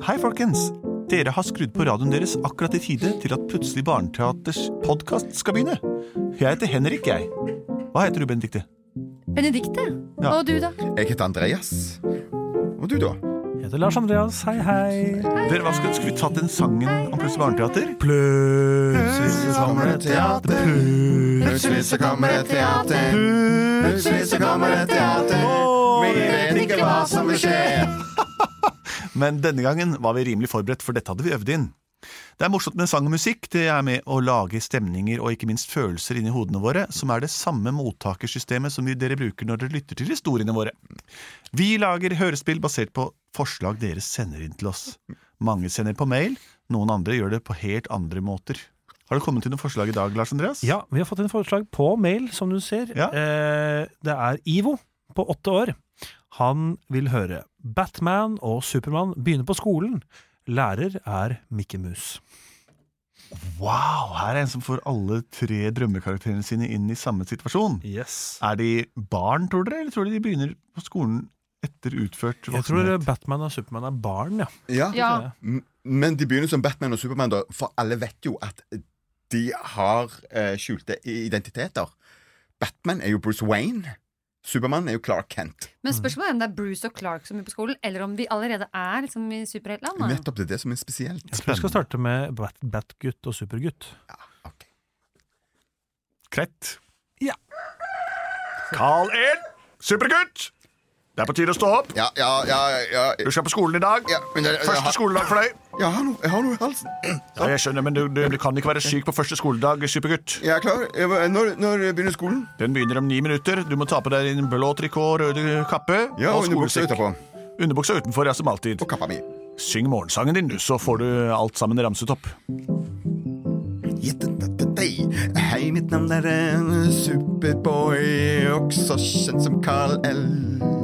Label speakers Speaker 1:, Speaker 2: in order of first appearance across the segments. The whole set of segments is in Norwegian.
Speaker 1: Hei, folkens! Dere har skrudd på radioen deres akkurat i tide til at Plutselig barneteaters podkast skal begynne. Jeg heter Henrik, jeg. Hva heter du, Benedikte?
Speaker 2: Benedikte?
Speaker 1: Ja.
Speaker 2: Og du, da?
Speaker 3: Jeg heter Andreas. Og du, da?
Speaker 4: Jeg heter Lars Andreas. Hei, hei.
Speaker 1: Dere, hva skulle, skulle vi tatt den sangen om Plutselig barneteater?
Speaker 3: Plutselig så kommer det teater. Plutselig så kommer det teater. Plutselig så kommer det teater. Vi vet ikke hva som vil skje.
Speaker 1: Men denne gangen var vi rimelig forberedt, for dette hadde vi øvd inn. Det er morsomt med sang og musikk. Det er med å lage stemninger og ikke minst følelser inni hodene våre, som er det samme mottakersystemet som vi- dere bruker når dere lytter til historiene våre. Vi lager hørespill basert på forslag dere sender inn til oss. Mange sender på mail, noen andre gjør det på helt andre måter. Har det kommet til noen forslag i dag, Lars Andreas?
Speaker 4: Ja, vi har fått inn forslag på mail, som du ser.
Speaker 1: Ja.
Speaker 4: Eh, det er Ivo på åtte år. Han vil høre Batman og Supermann begynner på skolen. Lærer er Mikke Mus.
Speaker 1: Wow, her er en som får alle tre drømmekarakterene sine inn i samme situasjon.
Speaker 4: Yes.
Speaker 1: Er de barn, tror dere, eller tror dere de begynner på skolen etter utført
Speaker 4: Jeg tror Batman og Supermann er barn, ja.
Speaker 3: Ja.
Speaker 2: Ja.
Speaker 3: M- Men de begynner som Batman og Supermann, da, for alle vet jo at de har eh, skjulte i- identiteter. Batman er jo Bruce Wayne. Supermann er jo Clark Kent.
Speaker 2: Men spørsmålet er om det er Bruce og Clark som er på skolen, eller om de allerede er liksom, i superheltland. da.
Speaker 3: Nettopp det er det som er spesielt.
Speaker 4: Jeg tror vi skal starte med Bat- Batgutt og Supergutt.
Speaker 3: Ja, ok.
Speaker 1: Krett.
Speaker 4: Ja.
Speaker 1: Karl 1, supergutt! Det er på tide å stå opp.
Speaker 3: ja, ja, ja, ja,
Speaker 1: Du skal på skolen i dag.
Speaker 3: ja, men jeg, jeg,
Speaker 1: Første
Speaker 3: har-
Speaker 1: skoledag for deg.
Speaker 3: ja, jeg har noe- jeg har noe i halsen.
Speaker 1: Ja, jeg skjønner, men du, du kan ikke være syk på første skoledag, supergutt.
Speaker 3: Jeg er klar. Jeg, når, når begynner skolen?
Speaker 1: Den begynner om ni minutter. Du må ta på deg din blå trikot, røde kappe
Speaker 3: Ja, og underbuksa
Speaker 1: skolesekk.
Speaker 3: utapå.
Speaker 1: Underbuksa utenfor, ja, som alltid.
Speaker 3: Og kappa mi.
Speaker 1: Syng morgensangen din, du, så får du alt sammen ramset opp.
Speaker 3: Jittetei. Hei, mitt navn er eh, Superboy, også kjent som Carl L.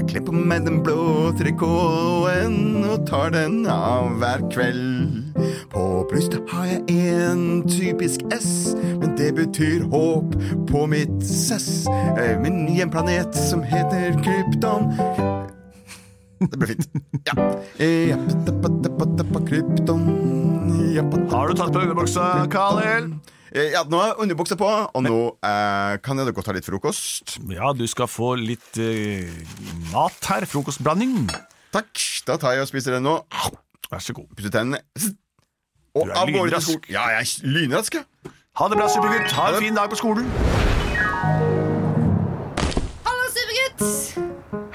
Speaker 3: Jeg kler på meg den blå trikoten og tar den av hver kveld. På brystet har jeg en typisk S, men det betyr håp på mitt sess. Eh, Min hjemplanet som heter Krypton. Det ble fint. Ja. Eh, jappa-tappa-tappa-tappa, Krypton. Jappa-tappa-tappa.
Speaker 1: Har du tatt på underbuksa, Karl 1?
Speaker 3: Eh, Ja, nå er underbuksa på, og nå eh, kan jeg da godt ta litt frokost.
Speaker 1: Ja, du skal få litt eh, mat her. Frokostblanding.
Speaker 3: Takk. Da tar jeg og spiser den nå.
Speaker 1: Vær så god.
Speaker 3: Pusser tennene. Og
Speaker 1: Du er
Speaker 3: av gårde til
Speaker 1: lynrask.
Speaker 3: skolen. Ja, jeg er lynrask, ja.
Speaker 1: Ha det bra, supergutt. Ha en fin dag på skolen.
Speaker 2: Hallo, supergutt!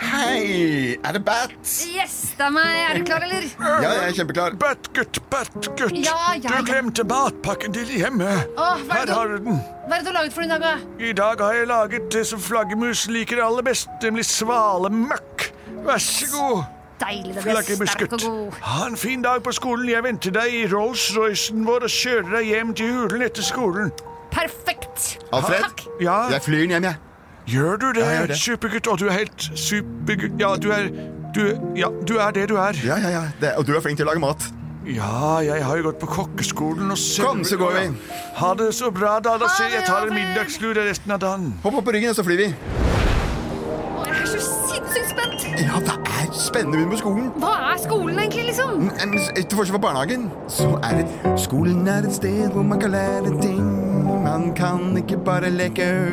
Speaker 3: Hei, er det Bat?
Speaker 2: Yes, det er meg. Er du klar, eller?
Speaker 3: Ja, jeg er kjempeklar.
Speaker 1: Bertgutt, Bertgutt.
Speaker 2: Ja, ja, ja.
Speaker 1: Du glemte matpakken din hjemme.
Speaker 2: Åh, hva er
Speaker 1: Her
Speaker 2: det-
Speaker 1: har du den.
Speaker 2: Hva er det du har laget for i dag, da?
Speaker 1: I dag har jeg laget det som flaggermus liker aller best, nemlig svalemøkk. Vær så god,
Speaker 2: Deilig. Det blir sterk og
Speaker 1: flaggermusgutt.
Speaker 2: god.
Speaker 1: Ha en fin dag på skolen. Jeg venter deg i Rolls-Roycen vår og kjører deg hjem til hulen etter skolen.
Speaker 2: Perfekt.
Speaker 3: Alfred,
Speaker 2: Takk.
Speaker 1: Ja,
Speaker 3: jeg flyr hjem, jeg.
Speaker 1: gjør du det,
Speaker 3: Ja, jeg gjør det.
Speaker 1: supergutt? Og du er helt supergutt. Ja, du er du, ja, du er det du er.
Speaker 3: Ja, ja, ja. Det, og du er flink til å lage mat.
Speaker 1: Ja, jeg har jo gått på kokkeskolen og selv...
Speaker 3: Kom, så går vi.
Speaker 1: Ha det så bra, da. Da
Speaker 2: Ha
Speaker 1: ser jeg
Speaker 2: det,
Speaker 1: tar en
Speaker 2: Alfred.
Speaker 1: middagslur resten av dagen.
Speaker 3: Hopp opp på ryggen, så flyr vi.
Speaker 2: Å, jeg er så sinnssykt spent.
Speaker 3: Ja, det er spennende begynne på skolen.
Speaker 2: Hva er skolen egentlig, liksom?
Speaker 3: Em, s- Til forskjell fra barnehagen, så er det Skolen er et sted hvor man kan lære ting. Man kan ikke bare leke.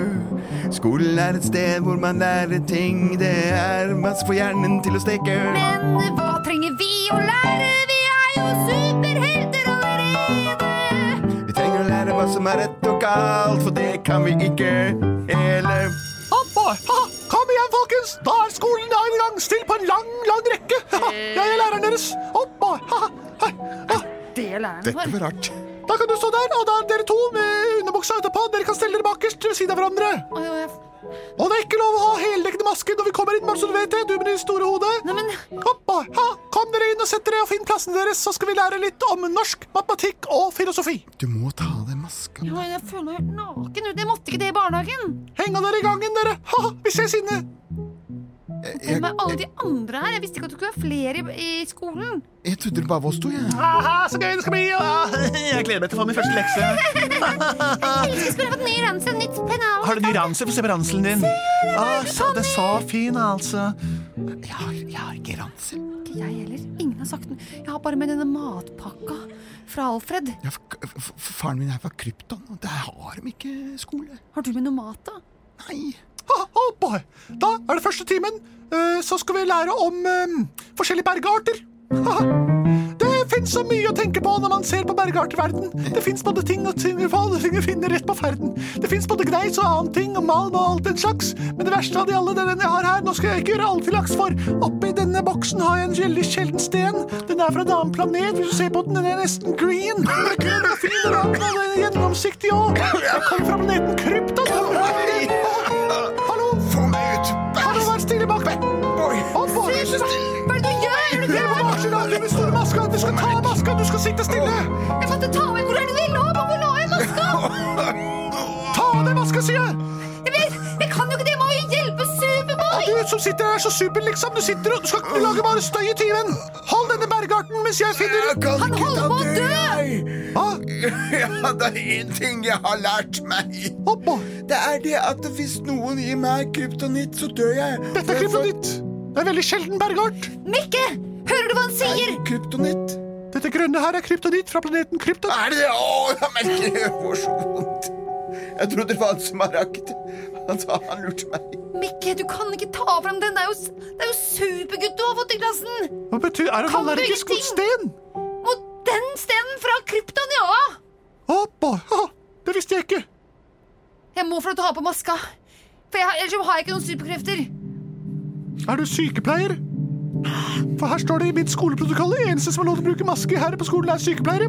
Speaker 3: Skolen er et sted hvor man lærer ting. Det er masse for hjernen til å steke.
Speaker 2: Men hva trenger vi å lære? Vi er jo superhelter allerede.
Speaker 3: Vi trenger å lære hva som er rett og galt, for det kan vi ikke hele.
Speaker 1: Kom igjen, folkens! Da er skolen da i gang. Still på en lang, lang rekke.
Speaker 2: Eh.
Speaker 1: Jeg er læreren deres. Opp,
Speaker 2: Det er læreren
Speaker 3: Dette
Speaker 2: vår.
Speaker 3: var rart.
Speaker 1: Da kan du stå der, og da er dere to med underbuksa etterpå. Dere kan stelle dere bakerst ved siden av hverandre.
Speaker 2: Oi, oi, oi.
Speaker 1: Og det er ikke lov å ha heldekkende maske når vi kommer inn, bare så du vet det. Du med det store hodet.
Speaker 2: Nei, men
Speaker 1: Opp, ha. Kom dere inn og sett dere og finn plassen deres, så skal vi lære litt om norsk, matematikk og filosofi.
Speaker 3: Du må ta av deg maska.
Speaker 2: Oi, jeg føler meg helt naken ut. Jeg måtte ikke det i barnehagen.
Speaker 1: Heng av dere i gangen, dere. Ha, vi ses inne.
Speaker 2: Hvem er alle de andre her? Jeg visste ikke at det skulle være flere i, i skolen.
Speaker 3: Jeg trodde det bare var oss to, jeg.
Speaker 1: Aha, så gøy det skal bli. ah, Jeg gleder meg til å få min første lekse.
Speaker 2: Jeg skulle fått ny ramse, nytt pennal.
Speaker 1: Har du ny ranse? Få se på ranselen din. Ah, så, det er så fin, altså.
Speaker 3: Jeg har, jeg har ikke ranse.
Speaker 2: ikke jeg heller. Ingen har sagt den. Jeg har bare med denne matpakka fra Alfred.
Speaker 3: Ja, f- f- f- faren min er fra Krypton, og der har de ikke skole.
Speaker 2: Har du med noe mat, da?
Speaker 3: Nei.
Speaker 1: Ha, oh boy. Da er det første timen. Eh, Så skal vi lære om eh, forskjellige bergarter. Haha. Det fins så mye å tenke på når man ser på bergarter i verden. Det fins både ting og ting, og alle ting vi finner rett på ferden. Det fins både gneis og annen ting og malm og alt den slags. Men det verste av de alle det er den jeg har her. Nå skal jeg ikke gjøre alle til laks, for oppi denne boksen har jeg en veldig sjelden sten. Den er fra en annen planet. Hvis du ser på den, den er nesten green. Den er grønn og fin og rar, og den er gjennomsiktig òg. Jeg kommer fra planeten Krypton. Hallo!
Speaker 3: Få meg ut!
Speaker 1: Hallo, vær stille bak meg!
Speaker 3: Oi.
Speaker 1: Opp og
Speaker 3: Så stille.
Speaker 2: Hva er det du gjør?
Speaker 1: Dere på baksiden av den store maska! Du skal ta av maska, du skal sitte stille!
Speaker 2: Jeg fant ta av meg Hvor er det du la av? Hvor la jeg maska?
Speaker 1: Ta av deg maska, sier jeg!
Speaker 2: Jeg, vet, jeg kan jo ikke det! Jeg må jo hjelpe Superboy!
Speaker 1: Du som sitter her, så super, liksom. Du sitter og du skal du lager bare støy i timen. Hold denne bergarten mens jeg finner
Speaker 3: Jeg
Speaker 1: ut
Speaker 3: kan
Speaker 2: Han
Speaker 3: ikke
Speaker 2: holder
Speaker 3: ta
Speaker 2: på å
Speaker 3: død,
Speaker 2: dø!
Speaker 3: jeg.
Speaker 1: Hva?
Speaker 3: Ja, det er én ting jeg har lært meg.
Speaker 1: Oppå.
Speaker 3: Det er det at hvis noen gir meg kryptonitt, så dør jeg.
Speaker 1: Dette er kryptonitt. Det er veldig sjelden bergart.
Speaker 2: Mikke! Hører du hva han sier?
Speaker 3: Kryptonitt.
Speaker 1: Dette grønne her er kryptonitt fra planeten Krypton.
Speaker 3: Er det det? Å, jeg merker det får så vondt. Jeg trodde det var han som har rakket. Han sa han lurte meg.
Speaker 2: Mikke, du kan ikke ta fram den! Det er jo, s- det er jo supergutt du har fått i klassen!
Speaker 1: Hva betyr Er det
Speaker 2: Kan du
Speaker 1: allergisk mot sten?
Speaker 2: Mot den stenen fra Krypton, ja!
Speaker 1: Oppå. Ha, Det visste jeg ikke.
Speaker 2: Jeg må få lov til å ha på maska. For jeg, har- ellers så har jeg ikke noen superkrefter.
Speaker 1: Er du sykepleier? For her står det i mitt skoleprotokoll det eneste som er lov til å bruke maske her på skolen, er sykepleiere.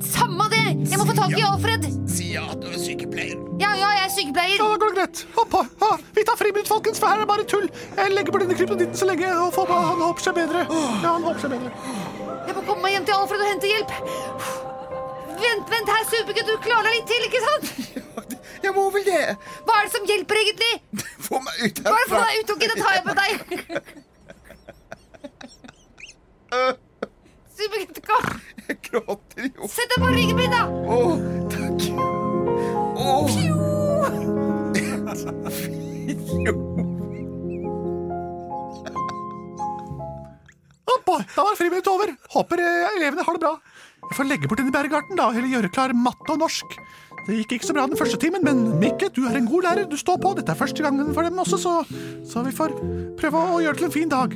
Speaker 2: Samme det! Jeg må få tak i Alfred!
Speaker 3: Si ja, du er sykepleier.
Speaker 2: Ja, ja, jeg er
Speaker 1: Ja,
Speaker 2: sykepleier.
Speaker 1: da går det greit. Hopp, hopp, hopp. Vi tar friminutt, folkens, for her er det bare tull. Jeg legger på denne kryptonitten så lenge, og får, han håper seg bedre. Ja, han håper seg bedre.
Speaker 2: Jeg må komme meg hjem til Alfred og hente hjelp. Vent, vent her, supergutt. Du klarer deg litt til, ikke sant?
Speaker 3: Jeg må vel det.
Speaker 2: Hva er det som hjelper, egentlig?
Speaker 3: Få meg ut
Speaker 2: Bare få deg
Speaker 3: herfra.
Speaker 2: ut, ok? Da tar jeg på deg. Supergutt, kom.
Speaker 3: Jeg gråter jo.
Speaker 2: Sett deg på ryggen min, da.
Speaker 3: Å, takk. Å.
Speaker 1: Hopp, hopp. da var friminutt over. Håper eh, elevene har det bra. Jeg får legge bort denne bergarten, da, og heller gjøre klar matte og norsk. Det gikk ikke så bra den første timen, men Mikke, du er en god lærer. Du står på. Dette er første gangen for dem også, så, så vi får prøve å gjøre det til en fin dag.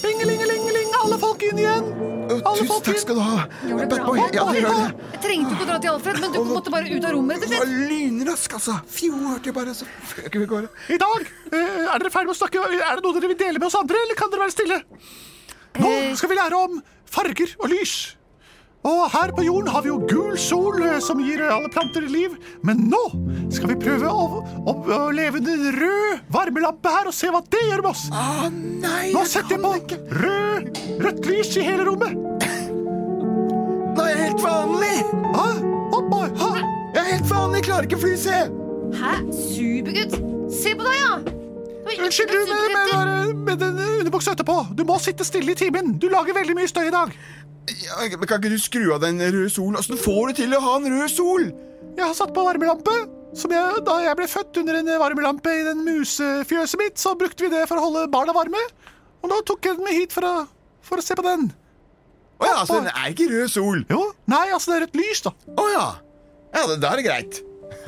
Speaker 1: Bingelingelingeling, alle folk inn igjen!
Speaker 3: Å,
Speaker 1: Alle
Speaker 3: Tusen
Speaker 1: folk
Speaker 3: takk
Speaker 1: inn!
Speaker 3: skal du ha.
Speaker 2: Gjorde det
Speaker 3: Bad
Speaker 2: bra.
Speaker 3: boy. Ja, du gjør det.
Speaker 2: Jeg trengte ikke å dra til Alfred, men du måtte bare ut av rommet, rett og
Speaker 3: Det var
Speaker 2: slett.
Speaker 3: lynrask, altså. Fjo, hørte jeg bare. Så føk vi gårde.
Speaker 1: I dag, eh, er dere ferdig med å snakke? Er det noe dere vil dele med oss andre, eller kan dere være stille? Nå skal vi lære om farger og lys. Og her på jorden har vi jo gul sol eh, som gir alle planter liv, men nå skal vi prøve å, å, å leve under en rød varmelampe her og se hva det gjør med oss.
Speaker 3: Å nei,
Speaker 1: Nå
Speaker 3: jeg
Speaker 1: setter jeg
Speaker 3: kan ikke.
Speaker 1: på rød, rødt lys i hele rommet.
Speaker 3: Nå er jeg helt vanlig.
Speaker 1: Hæ? Opp og, hæ?
Speaker 3: Jeg er helt vanlig, klarer ikke fly, se.
Speaker 2: Hæ? Supergutt? Se på deg, ja. Oi,
Speaker 1: Unnskyld, du med, med,
Speaker 2: supergutter.
Speaker 1: med, med den underbuksa etterpå. Du må sitte stille i timen. Du lager veldig mye støy i dag.
Speaker 3: Ja, men kan ikke du skru av den røde solen? Åssen får du til å ha en rød sol?
Speaker 1: Jeg har satt på varmelampe. Som jeg, da jeg ble født under en varmelampe i den musefjøset mitt, så brukte vi det for å holde barna varme. Og nå tok jeg den med hit for å, for å se på den.
Speaker 3: Å ja, så den er ikke rød sol.
Speaker 1: Jo, nei, altså det er rødt lys, da.
Speaker 3: Å ja. Ja, da- da er det greit.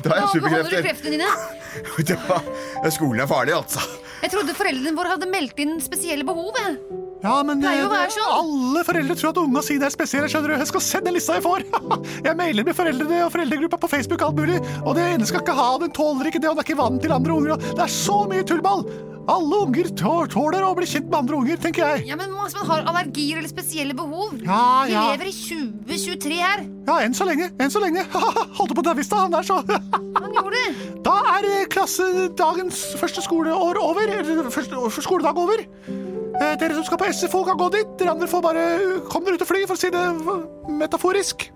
Speaker 3: Da har
Speaker 2: Hva
Speaker 3: jeg
Speaker 2: beholder du
Speaker 3: superkrefter.
Speaker 2: kreftene dine?
Speaker 3: Det var- ja, Skolen er farlig, altså.
Speaker 2: Jeg trodde foreldrene våre hadde meldt inn spesielle behov. jeg.
Speaker 1: Ja, men
Speaker 2: Pleier
Speaker 1: eh,
Speaker 2: å være sånn.
Speaker 1: alle foreldre tror at unga sine er spesielle. skjønner du? Jeg skal sende lista jeg får. Jeg mailer med foreldrene og foreldregruppa på Facebook alt mulig. Og det ene skal ikke ha, og den tåler ikke det, og den er ikke vant til andre unger. og Det er så mye tullball. Alle unger tå- tåler å bli kjent med andre unger, tenker jeg.
Speaker 2: Ja, men Hvis man har allergier eller spesielle behov
Speaker 1: Ja, ja.
Speaker 2: Vi lever i 2023 her.
Speaker 1: Ja, enn så lenge. Enn så lenge. Holdt på å daue i stad, han der, så.
Speaker 2: Han gjorde det.
Speaker 1: Da er eh, klassedagens første skoleår over. eller Første år- første skoledag over. Eh, Dere som skal på SFO, kan gå dit. Dere andre får bare eh, komme dere ut og fly, for å si det eh, metaforisk.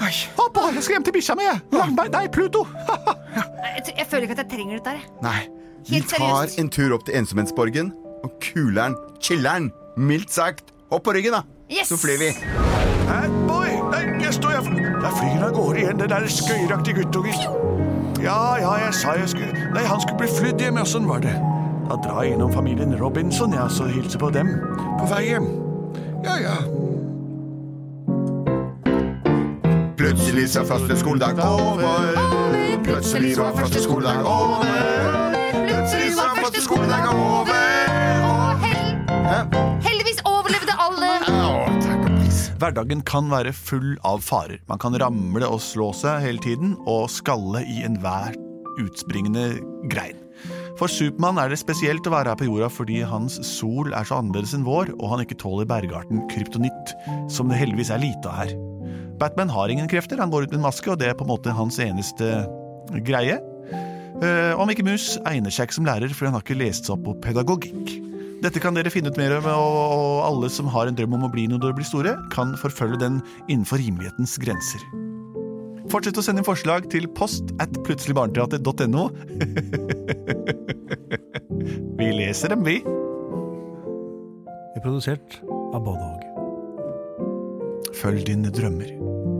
Speaker 3: Oi.
Speaker 1: Hopp, jeg skal hjem til bikkja mi, jeg. Langbein, nei, Pluto.
Speaker 2: Nei, Jeg, tr- jeg føler ikke at jeg trenger dette. her.
Speaker 3: Nei. Vi
Speaker 2: Helt
Speaker 3: tar
Speaker 2: seriøst.
Speaker 3: en tur opp til ensomhetsborgen og kuler'n, chiller'n, mildt sagt. Opp på ryggen, da.
Speaker 2: Yes.
Speaker 3: Så flyr vi.
Speaker 1: Bad boy! Nei, jeg står jeg Der flyr han av gårde igjen, den der skøyeraktige guttungen. Ja, ja, jeg sa jeg skulle Nei, han skulle bli flydd hjem, ja, sånn var det. Da drar jeg innom familien Robinson, ja, så hilser på dem på vei hjem.
Speaker 3: Ja, ja. Plutselig så er første skoledag over. Plutselig var første skoledag over. Plutselig var første skoledag over.
Speaker 2: Og hell,
Speaker 3: Hæ?
Speaker 2: heldigvis overlevde alle.
Speaker 3: Au, takk og pris.
Speaker 1: Hverdagen kan være full av farer. Man kan ramle og slå seg hele tiden, og skalle i enhver utspringende grein. For Supermann er det spesielt å være her på jorda fordi hans sol er så annerledes enn vår, og han ikke tåler bergarten kryptonitt, som det heldigvis er lite av her. Batman har ingen krefter, han går ut med en maske, og det er på en måte hans eneste greie. Eh, om ikke mus egner seg ikke som lærer, for han har ikke lest seg opp på pedagogikk. Dette kan dere finne ut mer om, og og alle som har en drøm om å bli noe når dere blir store, kan forfølge den innenfor rimelighetens grenser. Fortsett å sende inn forslag til post at plutseligbarneteater.no. vi leser dem, vi.
Speaker 4: Vi er produsert av både og.
Speaker 1: Følg dine drømmer.